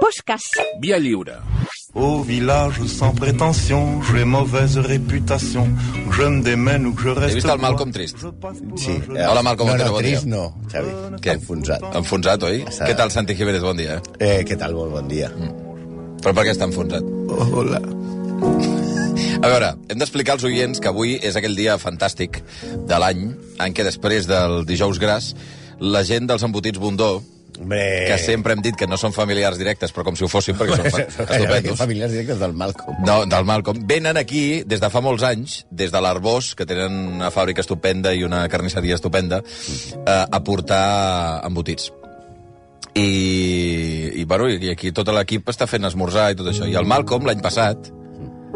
fosques. Via lliure. Au village sans prétention, j'ai mauvaise réputation. Que je me démène ou que je reste... He vist el droit, Malcolm trist. je passe pour Sí. un jeune Eh, Hola, Malcom, no, què tal? no, Bon dia. trist no, Xavi. Què? Enfonsat. Enfonsat, oi? Està- Què tal, Santi Jiménez? Bon dia. Eh, què tal? Molt bon dia. Mm. Però per què està enfonsat? Hola. A veure, hem d'explicar als oients que avui és aquell dia fantàstic de l'any en què després del dijous gras la gent dels embotits Bundó, Hombre... que sempre hem dit que no són familiars directes, però com si ho fossin, perquè són fa- estupendos, Familiars directes del Malcolm. no, del Malcolm, venen aquí des de fa molts anys, des de l'Arbós, que tenen una fàbrica estupenda i una carnisseria estupenda, eh, a portar embotits. I, i, bueno, i aquí tot l'equip està fent esmorzar i tot això. I el Malcolm, l'any passat,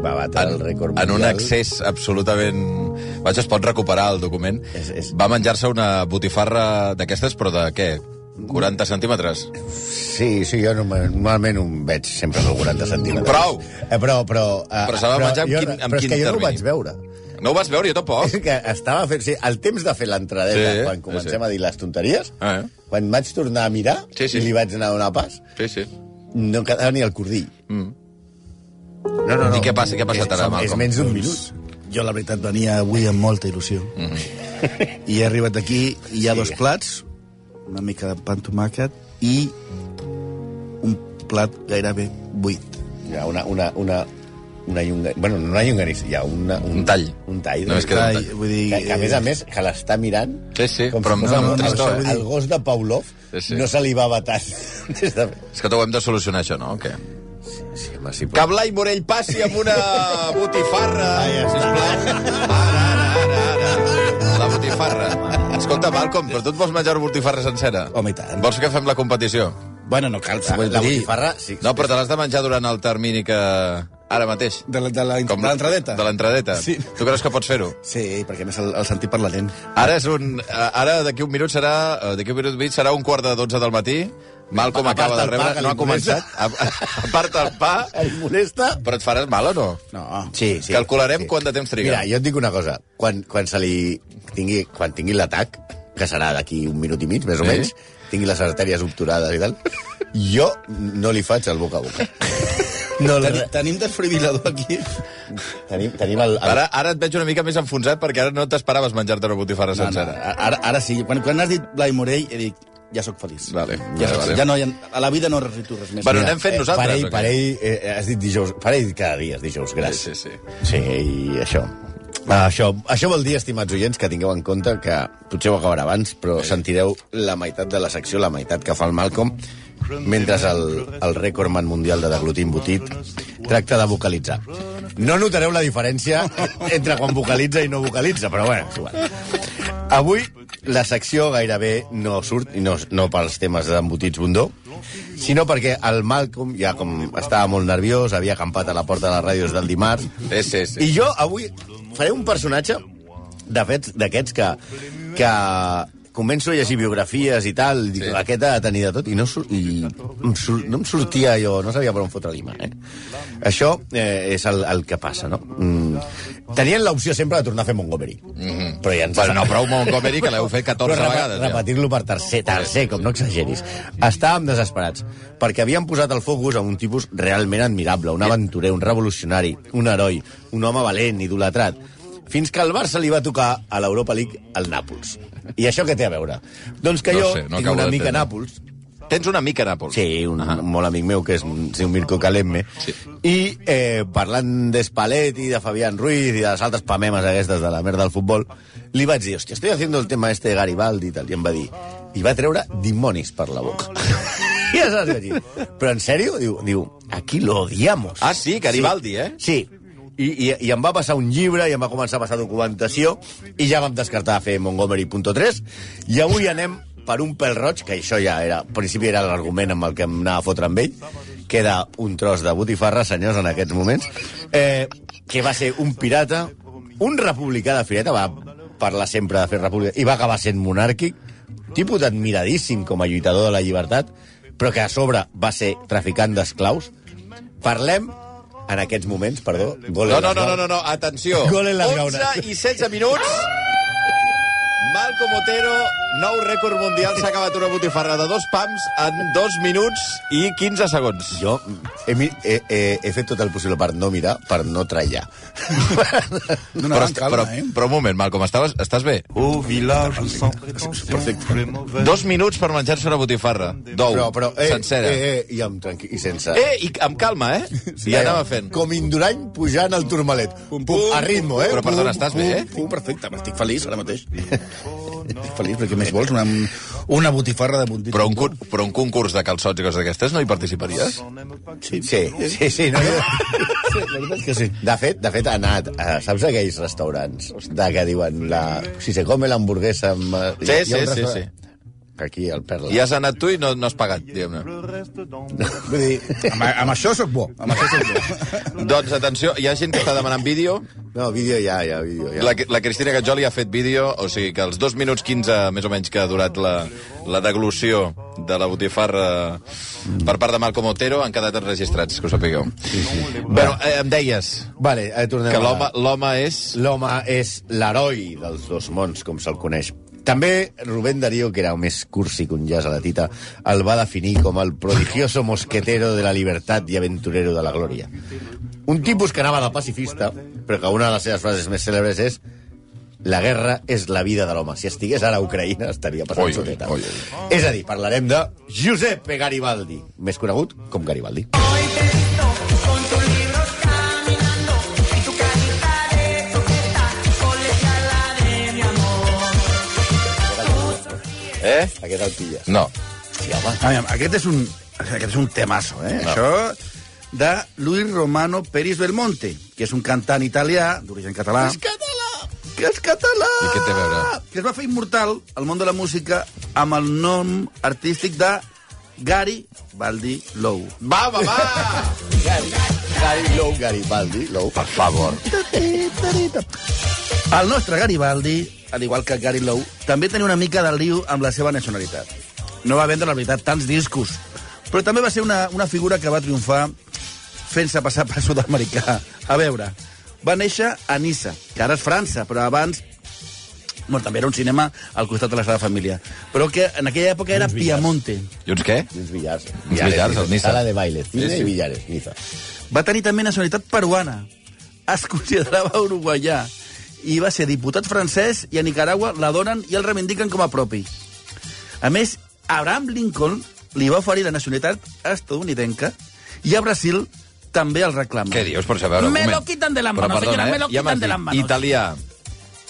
Va batre el rècord mundial. en un accés absolutament... Vaig, es pot recuperar el document. És- és- Va menjar-se una botifarra d'aquestes, però de què? 40 centímetres? Sí, sí, jo norma- normalment ho veig sempre del 40 centímetres. Prou! Eh, però, però... Eh, Però s'ha de menjar amb jo, quin- amb però és quin que jo no termini? ho vaig veure. No ho vas veure, jo tampoc. És que estava fent... Sí, el temps de fer l'entradeta, Sí, sí, quan sí, comencem sí. sí. a dir les tonteries, Ah, eh? quan vaig tornar a mirar Sí, sí. i li vaig anar a donar pas, Sí, sí. no quedava ni el cordill. Mm. No, no, I què passa? Què ha passat és, ara, som- És Malcolm? menys d'un minut. Jo, la veritat, venia avui amb molta il·lusió. Mm -hmm. I he arribat aquí, i hi ha sí. dos plats, una mica de pa amb tomàquet i un plat gairebé buit. Hi ha una... una, una una llonga... Bueno, no una llonganissa, hi ha una, Un tall. Un tall. No, és que- Ai, vull dir... que, que, a més a eh, més, que l'està mirant... Sí, sí, però amb- fos amb el- tristor, el, eh? el gos de Pavlov Sí, sí. no se li va batant. Des de... És que t'ho hem de solucionar, això, no? O què? Sí, home, sí, Que Blai Morell passi amb una botifarra, Ah, ja està. sisplau. Ara, ara, ara, ara. La botifarra. Escolta, Malcolm, però tu et vols menjar una botifarra sencera? Home, i tant. Vols que fem la competició? Bueno, no cal, s'ho vull la dir. botifarra, sí. No, però te l'has de menjar durant el termini que... Ara mateix. De la- de la- Com- de l'entradeta? De l'entradeta. Sí. Tu creus que pots fer-ho? Sí, perquè a més el, el sentit per la lent. Ara és un... eh, Ara d'aquí un minut serà... eh, D'aquí un minut i mig serà un quart de dotze del matí. Malcolm Aparta acaba de el pa, rebre... que li no ha molesta. començat. A- Aparta el pa. El molesta... Però et faràs mal o no? ah. No. Sí, sí. Calcularem quant de temps triga. Mira, jo et dic una cosa. Quan, quan se li tingui, quan tingui l'atac, que serà d'aquí un minut i mig, més Sí? o menys, tingui les artèries obturades i tal, jo no li faig el boca a boca. No, Teni, la- tenim desfibrilador aquí. tenim, tenim el, el, Ara, ara et veig una mica més enfonsat perquè ara no t'esperaves menjar-te una botifarra No, no, sencera. ara, ara sí. Quan, quan has dit Blai Morell, he dit, ja sóc feliç. Vale, Ja, vale, sóc- vale. ja no, ja, a la vida no recito res més. Bueno, Mira, anem fent nosaltres, Per ell, o què? per ell eh, has dit dijous, per ell cada dia és dijous, Sí, gràcies. sí, sí. Sí, i això. Ah, això, això vol dir, estimats oients, que tingueu en compte que potser ho acabarà abans, però sentireu la meitat de la secció, la meitat que fa el Malcolm, mentre el, el rècordman mundial de deglutir embotit tracta de vocalitzar. No notareu la diferència entre quan vocalitza i no vocalitza, però bueno, és igual. Avui la secció gairebé no surt, i no, no pels temes d'embotits bundó, sinó perquè el Malcolm ja com estava molt nerviós, havia acampat a la porta de les ràdios del dimarts, Sí, sí, sí. i jo avui faré un personatge de fet d'aquests que, que començo a llegir biografies i tal, i dic, Sí. aquest ha de tenir de tot, i no, sur- i em sur no em sortia jo, no sabia per on fotre l'ima. Eh? Això eh, és el, el que passa, no? Mm. Tenien l'opció sempre de tornar a fer Montgomery. Mm -hmm. Però ja ens... Bueno, Mhm. no, prou Montgomery, que l'heu fet 14 Però repa- vegades, ja. Repetir-lo per tercer, tercer, com no exageris. Estàvem desesperats, perquè havien posat el focus en un tipus realment admirable, un aventurer, un revolucionari, un heroi, un home valent, idolatrat, fins que al Barça li va tocar a l'Europa League el Nàpols. I això què té a veure? Doncs que No jo sé, no tinc acabo un amic a d'entendre. Nàpols, Tens una mica, Nàpols. Sí, un, un molt amic meu, que és, un- es diu Mirko Calemme. Sí. I eh, parlant d'Espaletti, de Fabián Ruiz i de les altres pamemes aquestes de la merda del futbol, li vaig dir, hòstia, estoy haciendo el tema este de Garibaldi i tal. I em va dir, i va treure dimonis per la boca. I ja saps què vaig dir. Però en sèrio? Diu, diu aquí lo odiamos. Ah, sí? Garibaldi, eh? Sí. I, i, I em va passar un llibre i em va començar a passar documentació i ja vam descartar fer Montgomery.3 i avui anem per un pèl roig, que això ja era, al principi era l'argument amb el que em anava a fotre amb ell, que era un tros de botifarra, senyors, en aquests moments, eh, que va ser un pirata, un republicà de fireta, va parlar sempre de fer república, i va acabar sent monàrquic, tipus admiradíssim com a lluitador de la llibertat, però que a sobre va ser traficant d'esclaus, parlem en aquests moments, perdó, gol No, no, no, no, no, no. atenció. Gol en les 11 gaunes. i 16 minuts. Malcom Otero, nou rècord mundial, s'ha acabat una botifarra de dos pams en dos minuts i 15 segons. Jo he, mi- he, he, he fet tot el possible per no mirar, per no trallar. No, no, Però, però, però, calma, eh? però un moment, Malcom, estaves, estàs bé? Au village sans prétention, Perfecte. j'ai mauvaise... Dos minuts per menjar-se una botifarra d'ou, Però, però, eh, sencera. Eh, eh, i, amb tranqui... I sense... Eh, i amb calma, eh? Sí, ja anava fent. Com Indurany pujant al turmalet. Pum, pum, a ritmo, eh? Però, perdona, estàs bé, eh? Puc, perfecte, estic feliç ara mateix. estic feliç, perquè més vols una, una botifarra de puntit. Però un, cur- però un concurs de calçots i coses d'aquestes no hi participaries? Sí, sí, sí. sí, no, jo... sí la veritat és que sí. De fet, de fet ha anat, a, saps aquells restaurants de que diuen la, si se come l'hamburguesa amb... eh, Sí, hi ha un sí, sí, restaurant- Aquí, al Perla. I has anat tu i no, no has pagat, diguem-ne. Vull dir, amb, amb això sóc bo. Amb això sóc bo. Doncs atenció, hi ha gent que està demanant vídeo. No, vídeo ja, ja, vídeo ja. La, la Cristina Gatjoli ha fet vídeo, o sigui que els 2 minuts 15, més o menys, que ha durat la, la deglució de la botifarra per part de Malcom Otero han quedat enregistrats, que ho sapigueu. Mm. Sí, sí. Bueno, eh, em deies Vale, eh, tornem que a- l'home l'home és... L'home és l'heroi dels dos mons, com se'l coneix. També Rubén Darío, que era més cursi que un jazz a la tita, el va definir com el prodigioso mosquetero de la libertat i aventurero de la glòria. Un tipus que anava de pacifista, però que una de les seves frases més cèlebres és la guerra és la vida de l'home. Si estigués ara a Ucraïna, estaria passant Oi, oi, xuteta. oi, oi, És a dir, parlarem de Giuseppe Garibaldi, més conegut com Garibaldi. Eh? Aquest el pilles. No. Sí, home. Aviam, aquest és un, aquest és un temazo, eh? No. Això de Luis Romano Peris Belmonte, que és un cantant italià d'origen català. És català! Que és català! I què té a veure? Que es va fer immortal al món de la música amb el nom artístic de Gary Baldi Lou. Va, va, va! Gari, Gari, Lou, Garibaldi, Lou. Per favor. El nostre Garibaldi, al igual que Gary Lowe, també tenia una mica de liu amb la seva nacionalitat. No va vendre, la veritat, tants discos, però també va ser una, una figura que va triomfar fent-se passar per sud-americà. A veure, va néixer a Nissa, que ara és França, però abans bueno, també era un cinema al costat de la Sagrada Família, però que en aquella època era Piamonte. I uns què? I uns billars. billars, el Niza. Sala de baile, Sí, cine sí, sí. sí. i billares, Niza. Va tenir també nacionalitat peruana. Es considerava uruguaià i va ser diputat francès i a Nicaragua la donen i el reivindiquen com a propi. A més, Abraham Lincoln li va oferir la nacionalitat estadounidenca i a Brasil també el reclama. Què dius, per saber? un Me moment. lo quitan de las Però eh? manos, señora, me lo ja m'has quitan de dit, las manos. Italià.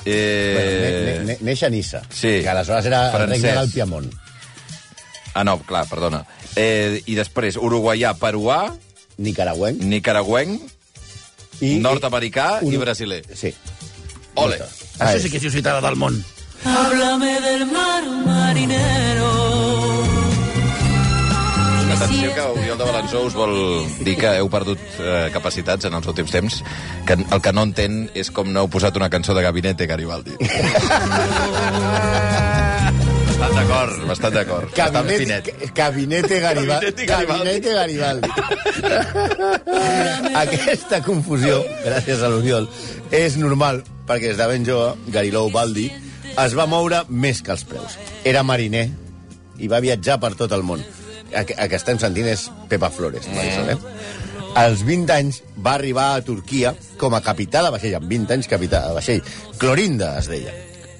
Eh... Bueno, ne- ne- neix a Niça, sí. que aleshores era el Francès. regne del Piemont. Ah, no, clar, perdona. Eh, I després, uruguaià, peruà, Nicaragüenc. nicaragüenc, I, nord-americà i Uru- brasiler. Sí. Ole. Això sí que és ciutada del món. Háblame del mar marinero. Atenció que Oriol de Balançó us vol dir que heu perdut eh, capacitats en els últims temps, que el que no entén és com no heu posat una cançó de Gabinete Garibaldi. bastant d'acord, bastant d'acord. Bastant Cabinet, finet. ca- Cabinete Garibaldi. Cabinete Garibaldi. Cabinete Garibaldi. Aquesta confusió, gràcies a l'Oriol, és normal, perquè des de ben jove, Garilou Baldi es va moure més que els preus. Era mariner i va viatjar per tot el món. El que- el que estem sentint és Pepa Flores, mm. eh? Als 20 anys va arribar a Turquia com a capità de vaixell, amb 20 anys capità de vaixell. Clorinda es deia.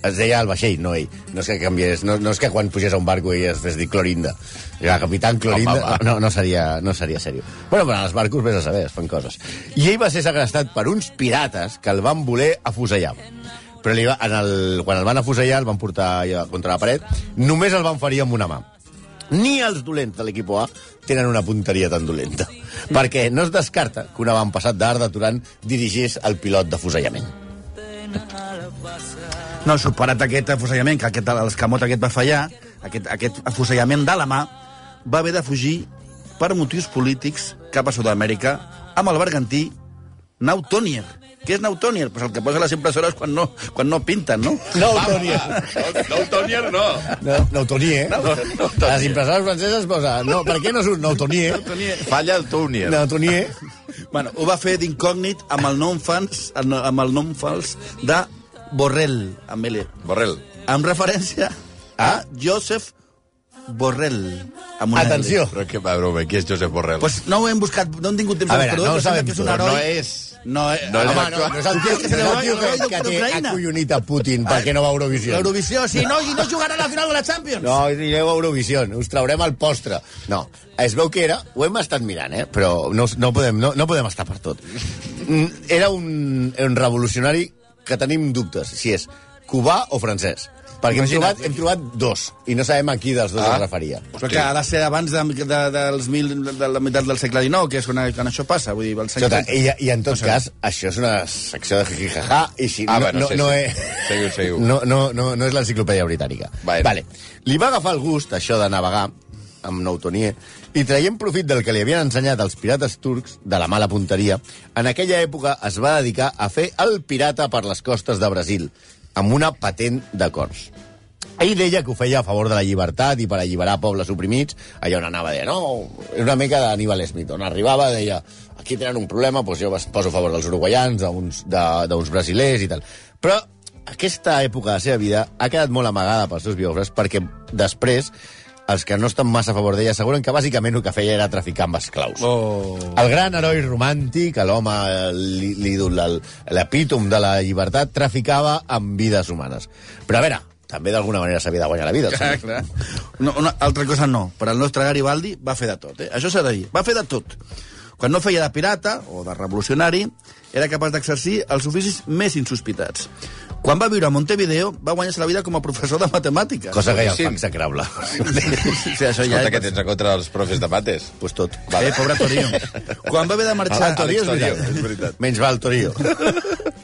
Es deia el vaixell, no ell. No és que canviés, no, no és que quan pugés a un barco i es fes dir Clorinda. Era capitán Clorinda, Home, va. no, no seria, no seria seriós. Bueno, però en els barcos vés a saber, es fan coses. I ell va ser segrestat per uns pirates que el van voler afusellar. Però li va, en el, quan el van afusellar, el van portar ja contra la paret, només el van ferir amb una mà. Ni els dolents de l'equip A tenen una punteria tan dolenta. Perquè no es descarta que un avantpassat d'Arda Turan dirigís el pilot d'afusellament. No, superat aquest afusellament, que aquest, l'escamot aquest va fallar, aquest, aquest afusellament de la mà, va haver de fugir per motius polítics cap a Sud-amèrica amb el bergantí Nautonier. Què és Nautonier? Pues el que posa les impressores quan no, quan no pinten, no? No, Toni, No, Tonier, no. no, no, Toni, eh? No, no, Les impressores franceses posa... No, per què no és un no, Toni, eh? Falla el Tonier. No, Toni, eh? Bueno, ho va fer d'incògnit amb el nom fans, amb el nom fals de Borrell, amb L. Borrell. amb referència a Josep Borrell. Amb una Atenció. L. Però què va, broma, qui és Josep Borrell? Pues no ho hem buscat, no hem tingut temps A de veure, buscar-ho, no ho però sembla sabem que és un tot, Però heroi. no és... No, eh, No és home, l'actual. No és el tio, és el tio que, que té Ucraïna. acollonit a Putin perquè no va a Eurovisió. L'Eurovisió, sí, no, i no jugarà a la final de la Champions. No, anireu a Eurovisió, us traurem el postre. No, es veu que era... Ho hem estat mirant, eh? Però no, no, podem, no, no podem estar per tot. Mm, Era un, un revolucionari que tenim dubtes, si és cubà o francès. Perquè hem Imagina't. trobat, hem trobat dos, i no sabem a qui dels dos ah. Ah. es referia. Però que ha de ser abans de, de, dels mil, de la meitat del segle XIX, que és quan, quan això passa. Vull dir, el segle... Escolta, i, I en tot cas, això és una secció de jijijajà, i si Ah, no, bueno, no, sí, no, sí. he- Seguiu, seguiu. no, no, no, no és l'enciclopèdia britànica. Vale. Vale. Li va agafar el gust, això de navegar, amb Noutonier, i traient profit del que li havien ensenyat els pirates turcs de la mala punteria, en aquella època es va dedicar a fer el pirata per les costes de Brasil, amb una patent de cors. Ell deia que ho feia a favor de la llibertat i per alliberar pobles oprimits, allà on anava deia, no, és una mica d'Aníbal Smith, on arribava deia, aquí tenen un problema, doncs jo es poso a favor dels uruguaians, d'uns de- d'uns brasilers i tal. Però aquesta època de la seva vida ha quedat molt amagada pels seus biògrafs perquè després els que no estan massa a favor d'ella asseguren que bàsicament el que feia era traficar amb esclaus. Oh. El gran heroi romàntic, l'home, eh, l'i- l'ídol, el- l'epítom de la llibertat, traficava amb vides humanes. Però a veure, també d'alguna manera s'havia de guanyar la vida. el Clar, senyor. clar. No, una altra cosa no, però el nostre Garibaldi va fer de tot, eh? Això s'ha de dir, va fer de tot. Quan no feia de pirata o de revolucionari, era capaç d'exercir els oficis més insospitats. Quan va viure a Montevideo, va guanyar-se la vida com a professor de matemàtiques. Cosa que ja Sí. fa execrable. Sí, això ja... Escolta, eh? què tens en contra dels profes de mates? Pues tot. Eh, pobre Torío. Quan va haver de marxar... El Torío és Torío, veritat. és veritat. Menys va el Torío.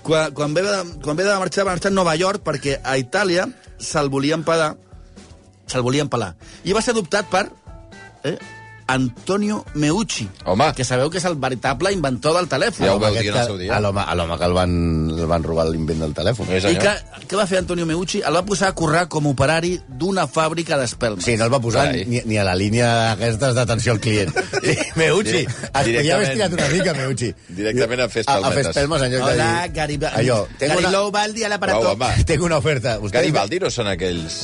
quan, quan, ve de, quan ve de marxar, va marxar a Nova York perquè a Itàlia se'l volien pelar. Se'l volien pelar. I va ser adoptat per eh, Antonio Meucci. Home. Que sabeu que és el veritable inventor del telèfon. Ja ho veu Aquest dir en que- el seu dia. a l'home- A l'home que el van, el van robar l'invent del telèfon. No és I allò. que, què va fer Antonio Meucci? El va posar a currar com a operari d'una fàbrica d'espelmes. Sí, no el va posar Carai. ni, ni a la línia aquestes d'atenció al client. Sí, Meucci, et podia haver Directament. estirat una mica, Meucci. Directament a fer A, a fer espelmetes. espelmes en lloc de Hola, dir- Garibaldi. Allò, tengo una- Garibaldi a l'aparato. Uau, home. Tengo una oferta. ¿Ustedes- Garibaldi no són aquells...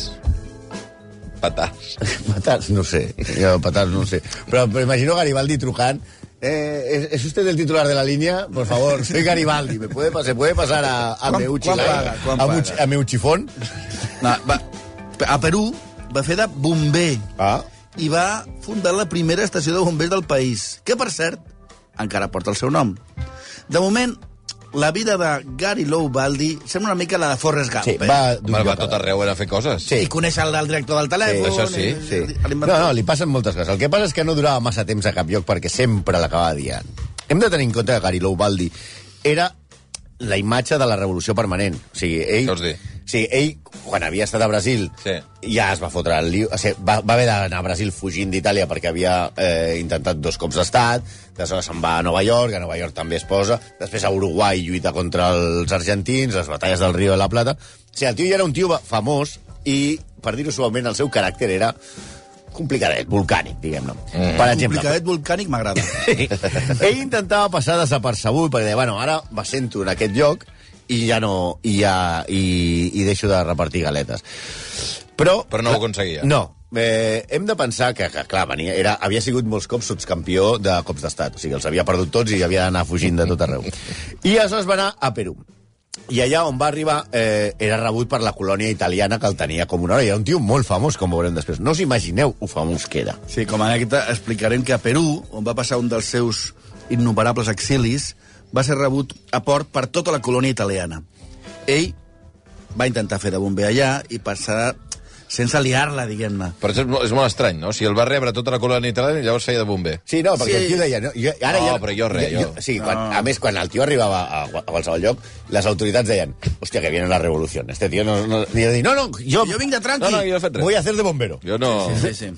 Patars. Patas, no sé. Yo, patas, no sé. Pero, pero imagino Garibaldi trucant. Eh, ¿es, es usted el titular de la línea? Por favor, soy Garibaldi. ¿Me puede, pas- ¿Se puede pasar a, a ¿Cuán- Meucci? cuán la- paga? ¿Cuán a, paga? Meucci- a Meuchifón? No, va, a Perú va fer de bomber. Ah. i va fundar la primera estació de bombers del país, que, per cert, encara porta el seu nom. De moment, la vida de Gary Lowbaldi sembla una mica la de Forrest Gump. Sí, eh? va d'un Home, va lloc a tot l'altre. arreu a fer coses. Sí. I coneix el, el director del telèfon... Sí, eh? això sí, i- Sí. i No, l'inventor. no, li passen moltes coses. El que passa és que no durava massa temps a cap lloc perquè sempre l'acabava diant. Hem de tenir en compte que Gary Lowbaldi era la imatge de la revolució permanent. O sigui, ell... Què vols dir? Sí, ell, quan havia estat a Brasil, Sí. ja es va fotre el lío. O sigui, va, va haver d'anar a Brasil fugint d'Itàlia perquè havia eh, intentat dos cops d'estat, aleshores se'n va a Nova York, a Nova York també es posa, després a Uruguai lluita contra els argentins, les batalles del Rio de la Plata... O sigui, el tio ja era un tio famós i, per dir-ho suaument, el seu caràcter era complicadet, volcànic, diguem-ne. Mm. Per exemple, Complicadet volcànic m'agrada. ell intentava passar desapercebut, perquè deia, bueno, ara me sento en aquest lloc i ja no... i, ja, i, i deixo de repartir galetes. Però, Però no ho aconseguia. No. Eh, hem de pensar que, que clar, venia, era, havia sigut molts cops subcampió de cops d'estat. O sigui, els havia perdut tots i havia d'anar fugint de tot arreu. I aleshores va anar a Perú. I allà on va arribar eh, era rebut per la colònia italiana que el tenia com una hora. I era un tio molt famós, com veurem després. No us imagineu ho famós que era. Sí, com a anècdota explicarem que a Perú, on va passar un dels seus innumerables exilis, va ser rebut a port per tota la colònia italiana. Ell va intentar fer de bomber allà i passar sense liar-la, diguem-ne. Però això és molt, és molt estrany, no? Si el va rebre tota la colònia italiana i llavors feia de bomber. Sí, no, perquè Sí. el tio deia... No, jo, ara No, ja, però jo res, jo. sí, quan, a més, quan el tio arribava a, a qualsevol lloc, les autoritats deien hòstia, que viene la revolució. Este tio no... no, i jo dic, no, no, jo, Jo vinc de tranqui. No, no, jo he fet res. voy a hacer de bombero. Jo no... Sí, sí.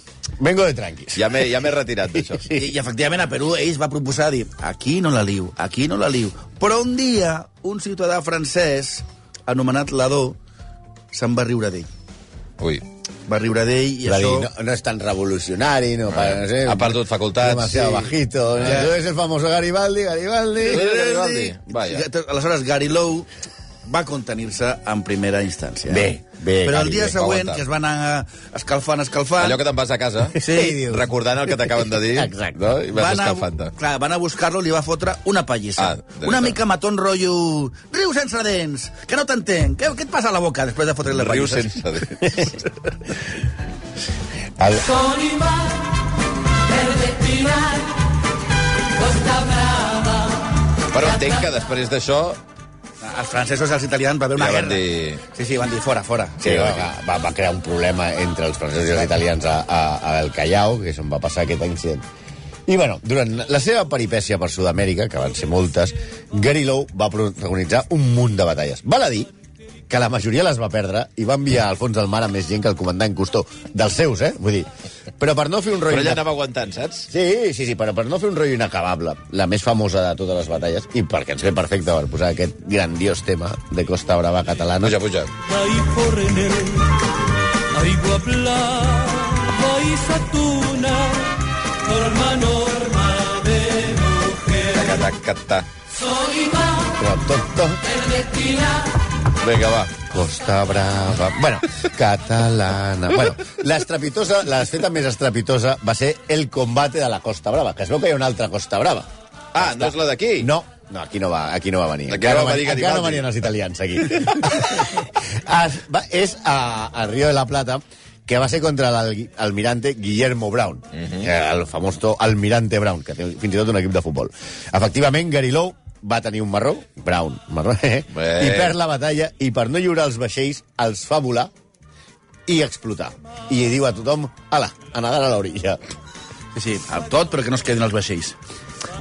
Vengo de tranquis. Ja m'he ja m'he retirat d'això. I, I, efectivament, a Perú ell es va proposar dir aquí no la liu, aquí no la liu. Però un dia, un ciutadà francès, anomenat Ladó, se'n va riure d'ell. Ui. Va riure d'ell i Va això... dir, no, no és tan revolucionari, no, para, no sé, Ha perdut facultats. Demasiado Sí. bajito. No, Ja. Tu és el famoso Garibaldi, Garibaldi. Garibaldi. Vaya. Aleshores, Gary Lowe va contenir-se en primera instància. Bé, bé, Però el Cari, dia bé, següent, aguanta. que es van anar escalfant, escalfant... Allò que te'n vas a casa, Sí, dius. recordant el que t'acaben de dir, Exacte. no? i vas van a, escalfant-te. clar, van a buscar-lo i li va fotre una pallissa. Ah, de una veritat. mica matón rotllo... Riu sense dents, que no t'entenc. Què, què et passa a la boca després de fotre les Riu pallisses? sense dir. Con Iván, Verde Pinar, Costa Brava. Però entenc que després d'això... Els francesos i els italians va haver una Ja van guerra. dir- Sí, sí, van dir fora, fora. Sí, va, va, va crear un problema entre els francesos i els italians a, a, a El Callao, que és on va passar aquest incident. I, bueno, durant la seva peripècia per Sud-amèrica, que van ser moltes, Gary Lowe va protagonitzar un munt de batalles. Val a dir que la majoria les va perdre i va enviar al fons del mar a més gent que el comandant Custó. Dels seus, eh? Vull dir. Però per no fer un Però rotllo... ella anava aguantant, saps? Sí, sí, sí, però per no fer un rotllo inacabable, la més famosa de totes les batalles, i perquè ens ve perfecte per posar aquest grandiós tema de Costa Brava catalana... Puja, puja. Ahí por Enero, Aigua Blava y Satuna, Norma, Norma de Mujer. Cata, cata. Soy Iván, Però tot, tot, Verde Pinar, Vinga, va. Costa Brava... Bueno, catalana... Bueno, l'estrepitosa, l'esfeta més estrepitosa va ser el combate de la Costa Brava, que es veu que hi ha una altra Costa Brava. Ah, no és la d'aquí? No, no, aquí no va, aquí no va venir. Aquí no Encara no, va va venir encara no Garibaldi. venien els italians, aquí. es, va, és a, a Rio de la Plata, que va ser contra l'almirante Guillermo Brown, Mhm. eh, el famós to- almirante Brown, que té fins i tot un equip de futbol. Efectivament, Garilou va tenir un marró, Brown, marró, eh? Bé. i perd la batalla, i per no lliurar els vaixells, els fa volar i explotar. I diu a tothom, ala, a nadar a l'orilla. Sí, sí, amb tot, però que no es quedin els vaixells.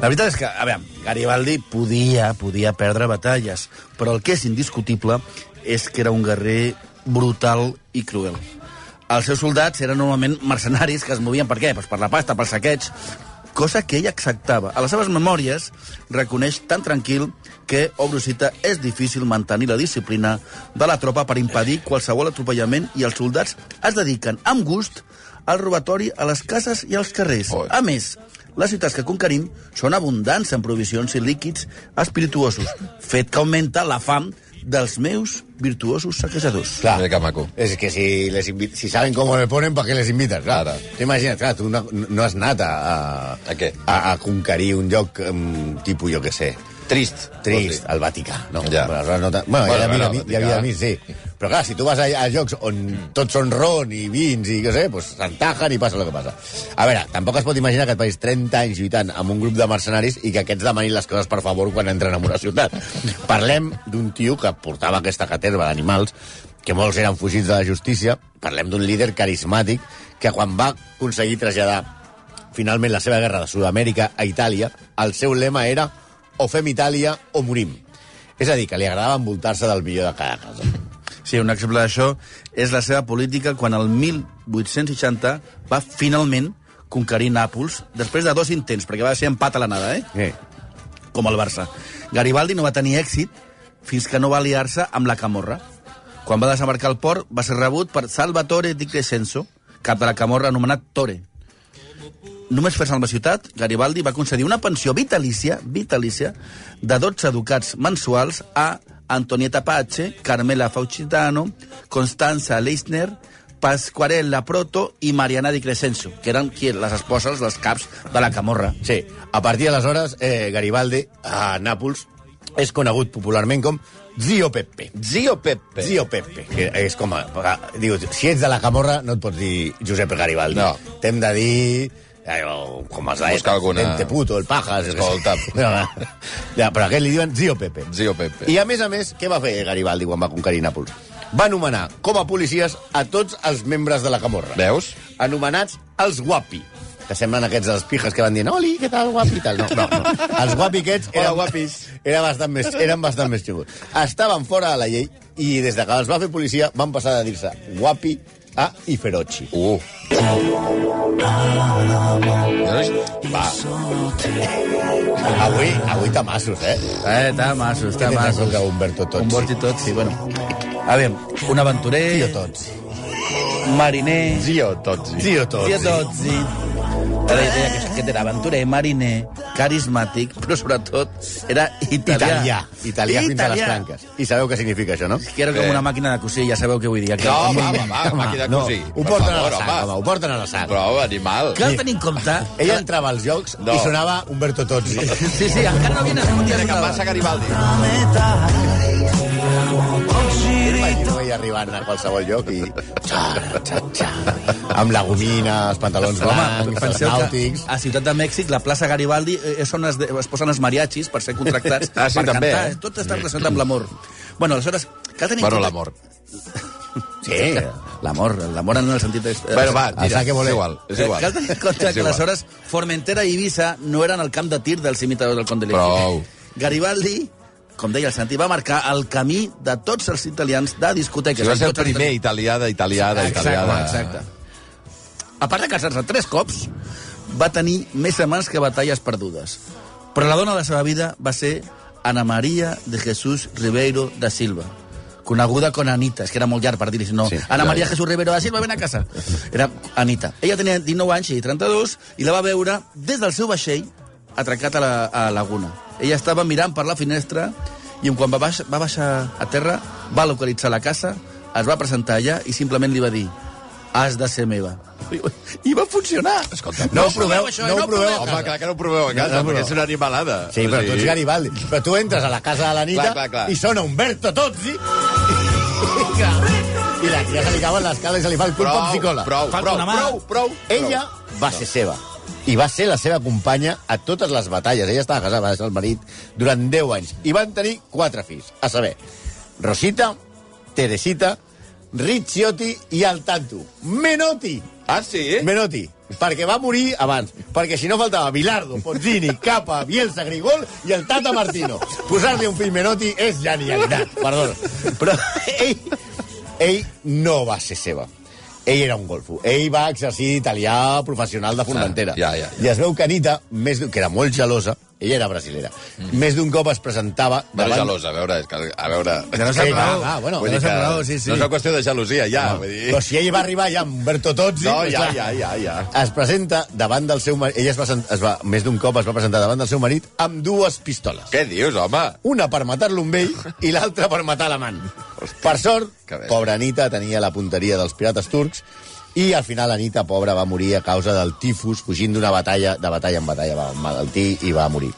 La veritat és que, a veure, Garibaldi podia, podia perdre batalles, però el que és indiscutible és que era un guerrer brutal i cruel. Els seus soldats eren normalment mercenaris que es movien per què? Pues per la pasta, pel saqueig, cosa que ell acceptava. A les seves memòries reconeix tan tranquil que, obro cita, és difícil mantenir la disciplina de la tropa per impedir qualsevol atropellament i els soldats es dediquen amb gust al robatori a les cases i als carrers. Oi. A més, les ciutats que conquerim són abundants en provisions i líquids espirituosos, fet que augmenta la fam dels meus virtuosos saquejadors. Clar. Mira que maco. Es que si, les invi- si saben cómo me ponen, ¿para qué les invitas? Claro. Ara. T'imagines, clar, tu no, no has anat a, a, A què? a, a conquerir un lloc um, tipus, jo que sé, Trist. trist, al Vaticà. No? Ja. Però aleshores no tan- bueno, Bueno, bueno, hi, bueno, havia, bueno, al hi havia Vaticà. mi, sí. Però clar, si tu vas a, a llocs on tots són ron i vins i què sé, pues, s'entajen i passa el que passa. A veure, tampoc es pot imaginar que et país 30 anys lluitant amb un grup de mercenaris i que aquests demanin les coses per favor quan entren en una ciutat. Parlem d'un tio que portava aquesta caterva d'animals, que molts eren fugits de la justícia, parlem d'un líder carismàtic que quan va aconseguir traslladar finalment la seva guerra de Sud-amèrica a Itàlia, el seu lema era o fem Itàlia o morim. És a dir, que li agradava envoltar-se del millor de cada casa. Sí, un exemple d'això és la seva política quan el 1860 va finalment conquerir Nàpols després de dos intents, perquè va ser empat a l'anada, eh? Eh. com el Barça. Garibaldi no va tenir èxit fins que no va aliar-se amb la Camorra. Quan va desembarcar el port, va ser rebut per Salvatore Di Crescenzo, cap de la Camorra anomenat Tore. Només fer-se amb la ciutat, Garibaldi va concedir una pensió vitalícia, vitalícia, de 12 ducats mensuals a Antonieta Pace, Carmela Faucitano, Constanza Leisner, Pasquarella Proto i Mariana Di Crescenzo, que eren qui, les esposes dels caps de la Camorra. Sí, a partir d'aleshores, eh, Garibaldi, a Nàpols, és conegut popularment com Zio Pepe. Zio Pepe. Zio Pepe, que és com... A, diu, si ets de la Camorra, no et pots dir Josep Garibaldi. No. T'hem de dir... eh, o Com els d'Aetes, alguna- Dente Puto, el Pajas... Escolta. Ja, però aquest li diuen Zio Pepe. Zio Pepe. I a més a més, què va fer Garibaldi quan va conquerir Nàpols? Va anomenar com a policies a tots els membres de la camorra. Veus? Anomenats els guapi. Que semblen aquests dels pijes que van dient Oli, què tal, guapi, i tal. No, no, no. Els guapi aquests eren, Hola, guapis. Era bastant més, eren bastant més xungos. Estaven fora de la llei i des de que els va fer policia van passar de dir-se guapi a i feroci. Uh. Va. Avui, avui tamassos, eh? Eh, tamassos, Què tens en tamassos. contra, Humberto Tocci? Un bord i tot, sí, bueno. A veure, un aventurer... Zio Tozzi. Mariner... Zio Tozzi. Zio Tozzi. Zio Tozzi. Era la idea que, que era aventurer, mariner, carismàtic, però sobretot era italià. Italià. Italià fins a les tranques. I sabeu què significa això, no? Que era com Eh. una màquina de cosir, ja sabeu què vull No, dir. Aquell- va, va, va, màquina de No, cosir. ho Per porten a la favor, sang, home, ho porten a la sang. Però, animal. Cal tenir en compte... Ella entrava als llocs No. i sonava Umberto Tozzi. Sí, sí, encara no havia nascut. Mira, ja que sonava. passa Garibaldi. Ah, Imagino ella arribant a qualsevol lloc i... Xa, xa, xa, amb la gomina, els pantalons Home, blancs, els penseu que nàutics... a Ciutat de Mèxic, la plaça Garibaldi, eh, és on es, de, es posen els mariachis per ser contractats Ah, sí, per també, cantar. eh? Tot està relacionat amb l'amor. Bueno, aleshores, cal tenir en Bueno, compte- Eh, l'amor. Sí. L'amor, l'amor en el sentit... De... Eh, Bueno, va, El tira, saque és voler. igual. És igual. Cal tenir en compte És que igual. aleshores Formentera i Ibiza no eren el camp de tir dels imitadors del Conde Legi. Prou. Garibaldi, com deia el Santi, va marcar el camí de tots els italians de discoteques. Si va ser el Tots els primer italià d'italià d'italià de- Exacte, exacte. A part de casar-se tres cops, va tenir més amants que batalles perdudes. Però la dona de la seva vida va ser Ana María de Jesús Ribeiro da Silva, coneguda com Anita, és que era molt llarg per dir-hi, si no. Sí, Sí, Ana ja, María ja. Jesús Ribeiro da Silva, ven a casa. Era Anita. Ella tenia 19 anys i 32 i la va veure des del seu vaixell atracat a la a Laguna. Ella estava mirant per la finestra i quan va, baix, va baixar a terra va localitzar la casa, es va presentar allà i simplement li va dir has de ser meva. I va funcionar. Escolta, no ho proveu, no ho proveu. Home, clar que no ho proveu a casa, No, no, perquè no. és una animalada. Sí, O però sigui- tu ets Garibaldi. Però tu entres a la casa de l'Anita Clar, clar, clar. i sona Umberto Tozzi i, clar, i la tia se li cauen les cales i se li fa el cul Prou, com psicola. prou, Falta prou, una mà. prou, prou. Ella va ser seva i va ser la seva companya a totes les batalles. Ella estava casada, va ser el marit, durant 10 anys. I van tenir quatre fills, a saber, Rosita, Teresita, Ricciotti i el Tanto. Menotti! Ah, sí? Menotti, perquè va morir abans. Perquè si no faltava Bilardo, Ponzini, Capa, Bielsa, Grigol i el Tata Martino. Posar-li un fill Menotti és genialitat, perdona. Però ell, ell no va ser seva. Ell era un golfo. Ell va exercir italià professional de Formentera. Ah, ja, ja, ja. I es veu que Anita, més d'un- que era molt gelosa, ella era brasilera, Mm. més d'un cop es presentava... Bueno, gelosa, a veure, és que, a veure... Que no s'ha Sí, clar, raó, clar, bueno, vull que no dir s'ha raó, sí, sí. No és una qüestió de gelosia, ja, vull dir... Ah. Però si ell va arribar ja amb Berto Tozzi... No, doncs ja, clar, ja, ja, ja. es presenta davant del seu marit... Ella es va, sent- es va, més d'un cop es va presentar davant del seu marit amb dues pistoles. Què dius, home? Una per matar-lo amb ell i l'altra per matar l'amant. Per sort, que bé. pobra Anita tenia la punteria dels pirates turcs i al final Anita, pobra, va morir a causa del tifus, fugint d'una batalla, de batalla en batalla, va malaltir i va morir.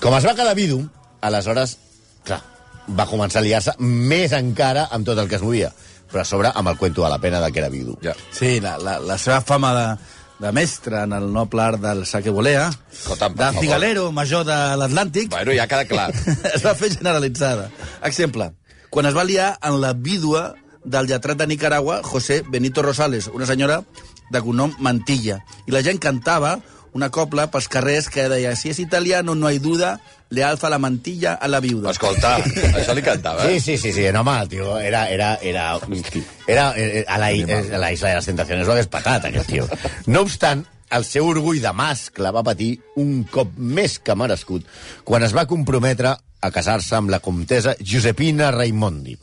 Com es va quedar vidu, aleshores, clar, va començar a liar-se més encara amb tot el que es movia, però a sobre amb el cuento de la pena de que era vidu. Ja. Sí, la, la, la seva fama de, de mestre en el noble art del saque volea, Escolta'm, per de favor. cigalero major de l'Atlàntic, Bueno, ja queda clar. es va fer generalitzada. Exemple, quan es va liar en la vídua del lletrat de Nicaragua, José Benito Rosales, una senyora de cognom Mantilla. I la gent cantava una copla pels carrers que deia si és italiano no hay duda, le alza la mantilla a la viuda. Escolta, això li eh? cantava. Sí, sí, sí, sí, no mal, tio. Era, era, era... Era eh, a la, i- a la Isla de les Tentaciones ho hagués patat, aquest tio. No obstant, el seu orgull de mascle va patir un cop més que merescut quan es va comprometre a casar-se amb la comtessa Giuseppina Raimondi.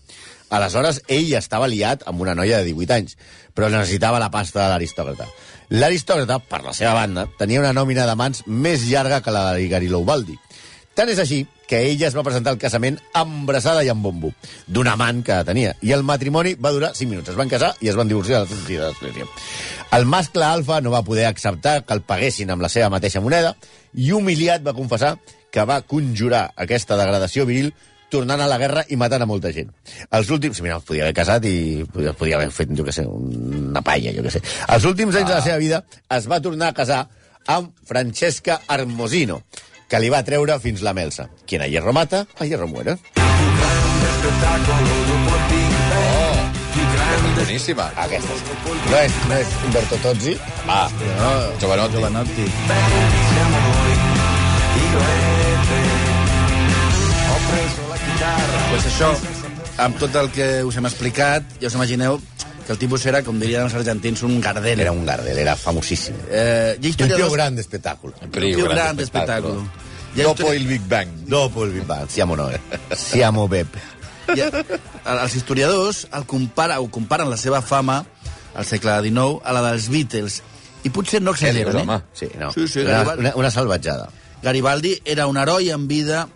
Aleshores, ell estava liat amb una noia de 18 anys, però necessitava la pasta de l'aristòcrata. L'aristòcrata, per la seva banda, tenia una nòmina de mans més llarga que la de Garibaldi. Tant és així que ella es va presentar al casament embrassada i amb bombo, d'un amant que tenia. I el matrimoni va durar 5 minuts. Es van casar i es van divorciar a la sortida de l'església. El mascle alfa no va poder acceptar que el paguessin amb la seva mateixa moneda i humiliat va confessar que va conjurar aquesta degradació viril tornant a la guerra i matant a molta gent. Els últims... Mira, es podia haver casat i podia, podia haver fet, jo què sé, una palla, jo què sé. Els últims anys de la seva vida es va tornar a casar amb Francesca Armosino, que li va treure fins la melsa. Quien a hierro mata, a hierro muere. Boníssima. Aquesta és. No és, no és Humberto Tozzi. Ah, Va, Jovanotti. Jovanotti. Pues això, amb tot el que us hem explicat, ja us imagineu que el tipus era, com dirien els argentins, un gardel. Era un Gardel, era famosíssim. Eh, hi ha Un tio historiadors... gran d'espectacle. Priu, Un tio gran gran espectacle. d'espectacle. Hi ha Dopo histori- il Big Bang. Dopo el Bimba, siamo noi. Siamo Beppe. I, els historiadors el compara, o comparen la seva fama al segle XIX a la dels Beatles. I potser no dius, exageren, home? eh? Sí, no. Sí, sí, una, Garibaldi. una, una salvatjada. Garibaldi era un heroi en vida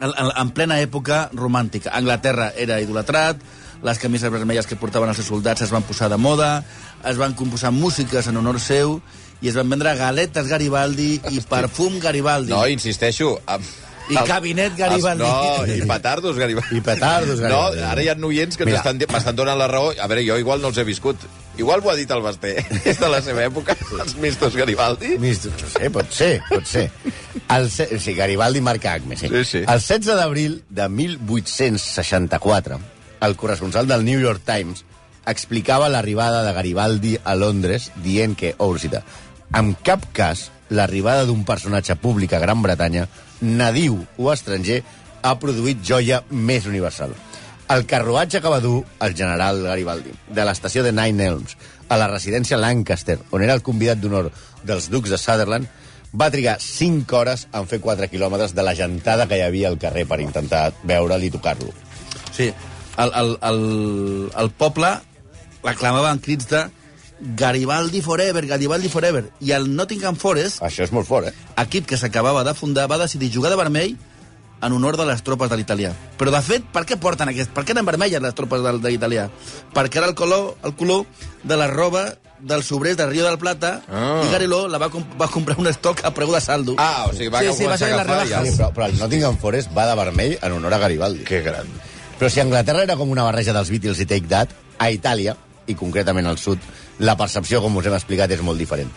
en, en, en plena època romàntica. Anglaterra era idolatrat, les camises vermelles que portaven els seus soldats es van posar de moda, es van composar músiques en honor seu i es van vendre galetes Garibaldi i perfum Garibaldi. No, insisteixo... Amb... I cabinet Garibaldi. No, i petardos Garibaldi. I petardos Garibaldi. No, ara hi ha noients que Mira. m'estan di- m'estan donant la raó. A veure, jo igual no els he viscut. Igual ho ha dit el Basté. És de la seva època, els mistos Garibaldi. Mis- No sé, pot ser, pot ser. El, se- o sigui, Garibaldi marca Acme, sí. Sí, sí. El 16 d'abril de 1864, el corresponsal del New York Times explicava l'arribada de Garibaldi a Londres dient que, obro cita, en cap cas l'arribada d'un personatge públic a Gran Bretanya, nadiu o estranger, ha produït joia més universal. El carruatge que va dur el general Garibaldi de l'estació de Nine Elms a la residència Lancaster, on era el convidat d'honor dels ducs de Sutherland, va trigar 5 hores en fer 4 quilòmetres de la gentada que hi havia al carrer per intentar veure'l i tocar-lo. Sí, el, el, el, el poble l'aclamava amb crits de Garibaldi forever, Garibaldi forever. I el Nottingham Forest, Això és molt fort, eh? equip que s'acabava de fundar, va decidir jugar de vermell en honor de les tropes de l'italià. Però, de fet, per què porten aquest... Per què eren vermelles les tropes de, de l'italià? Perquè era el color, el color de la roba dels obrers de Rio del Plata Ah. i Gariló la va, comp va comprar un estoc a preu de saldo. Ah, o sigui, va sí, sí, va començar ser a la agafar rebaja. ja. Sí, però, però el Nottingham Forest va de vermell en honor a Garibaldi. Que gran. Però si Anglaterra era com una barreja dels Beatles i Take That, a Itàlia, i concretament al sud, la percepció, com us hem explicat, és molt diferent.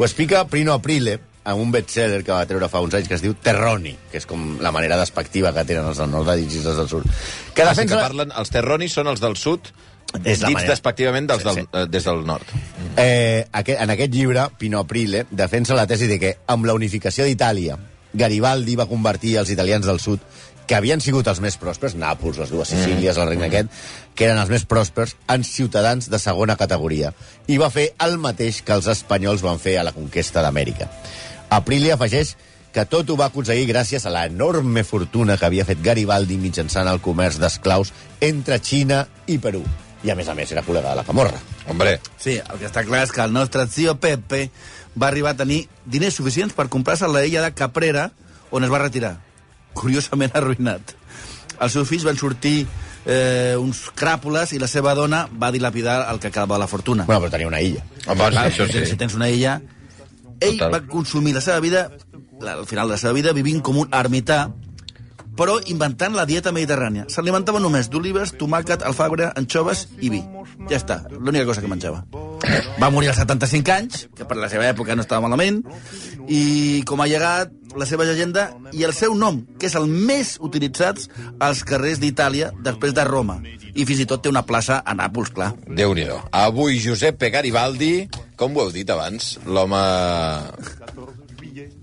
Ho explica Prino Aprile en un bestseller que va treure fa uns anys que es diu Terroni, que és com la manera despectiva que tenen els del nord de dir els del sud. Així Que Ah, que defensa... parlen, els terronis són els del sud, És la dits manera. despectivament dels Sí, del, sí. eh, des del nord. Eh, aquest, en aquest llibre, Pino Aprile defensa la tesi de que, amb la unificació d'Itàlia, Garibaldi va convertir els italians del sud, que havien sigut els més pròspers, Nàpols, les dues Sicílies, el regne aquest, que eren els més pròspers, en ciutadans de segona categoria, i va fer el mateix que els espanyols van fer a la conquesta d'Amèrica. Aprile afegeix que tot ho va aconseguir gràcies a l'enorme fortuna que havia fet Garibaldi mitjançant el comerç d'esclaus entre Xina i Perú. I, a més a més, era col·lega de la Camorra. Hombre, Sí, el que està clar és que el nostre tio Pepe va arribar a tenir diners suficients per comprar-se la illa de Caprera, on es va retirar. Curiosament arruïnat. Els seus fills van sortir eh, uns cràpules i la seva dona va dilapidar el que acabava la fortuna. Bueno, però tenia una illa. home, Clar, això sí. Si tens una illa... Ell Total. va consumir la seva vida, la- al final de la seva vida, vivint com un ermità, però inventant la dieta mediterrània. S'alimentava només d'olives, tomàquet, alfàbre, anchoves i vi. Ja està, l'única cosa que menjava. Va morir als 75 anys, que per la seva època no estava malament, i com ha llegat la seva llegenda i el seu nom, que és el més utilitzat als carrers d'Itàlia després de Roma. I fins i tot té una plaça a Nàpols, clar. déu nhi Avui Giuseppe Garibaldi, com ho heu dit abans, l'home...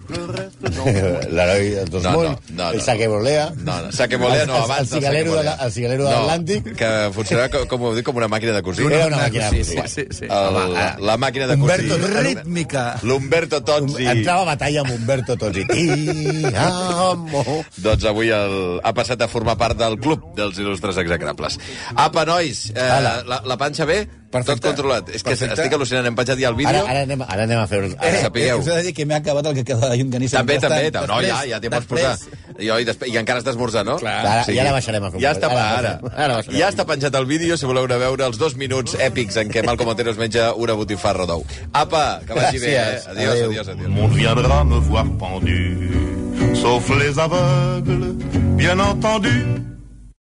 L'heroi dels dos No, no, mons, no, no, el saquebolea... No, no, Saquebolea no, El- el- abans el cigalero de la- el cigalero de l'Atlàntic. No, que funcionava, com, com ho heu dit, com una màquina de cosir. Era una màquina de Sí, cosir. eh, sí, sí. El, la màquina de Humberto cosir. Rítmica. L'Humberto Tozzi. Entrava a batalla amb Humberto Tozzi. Ti, amo. Doncs avui el, ha passat a formar part del club dels il·lustres execrables. Apa, nois, eh, Ala. la, la panxa bé? Perfecte. Tot controlat. És que Perfecte. estic al·lucinant, hem penjat ja el vídeo. Ara, ara, anem, ara anem a fer... Eh, Ara, sapigueu. us he de dir que m'he acabat el que queda de llonganissa. També, Bastant. també, també. No, ja, Després, ja t'hi pots posar. després. I, oi, després, I encara has d'esmorzar, no? Clar. Ara- ja la baixarem a fer un Ja poc. està, Ara ara, ara. la baixarem. Ara la baixarem. ja està penjat el vídeo, si voleu anar a veure els dos minuts èpics en què Malcom Otero es menja una botifarra d'ou. Apa, que vagi bé. Eh? Gràcies. Adiós, Adéu. adiós, adiós. Tout le monde viendra me voir pendu, sauf les aveugles, bien entendu.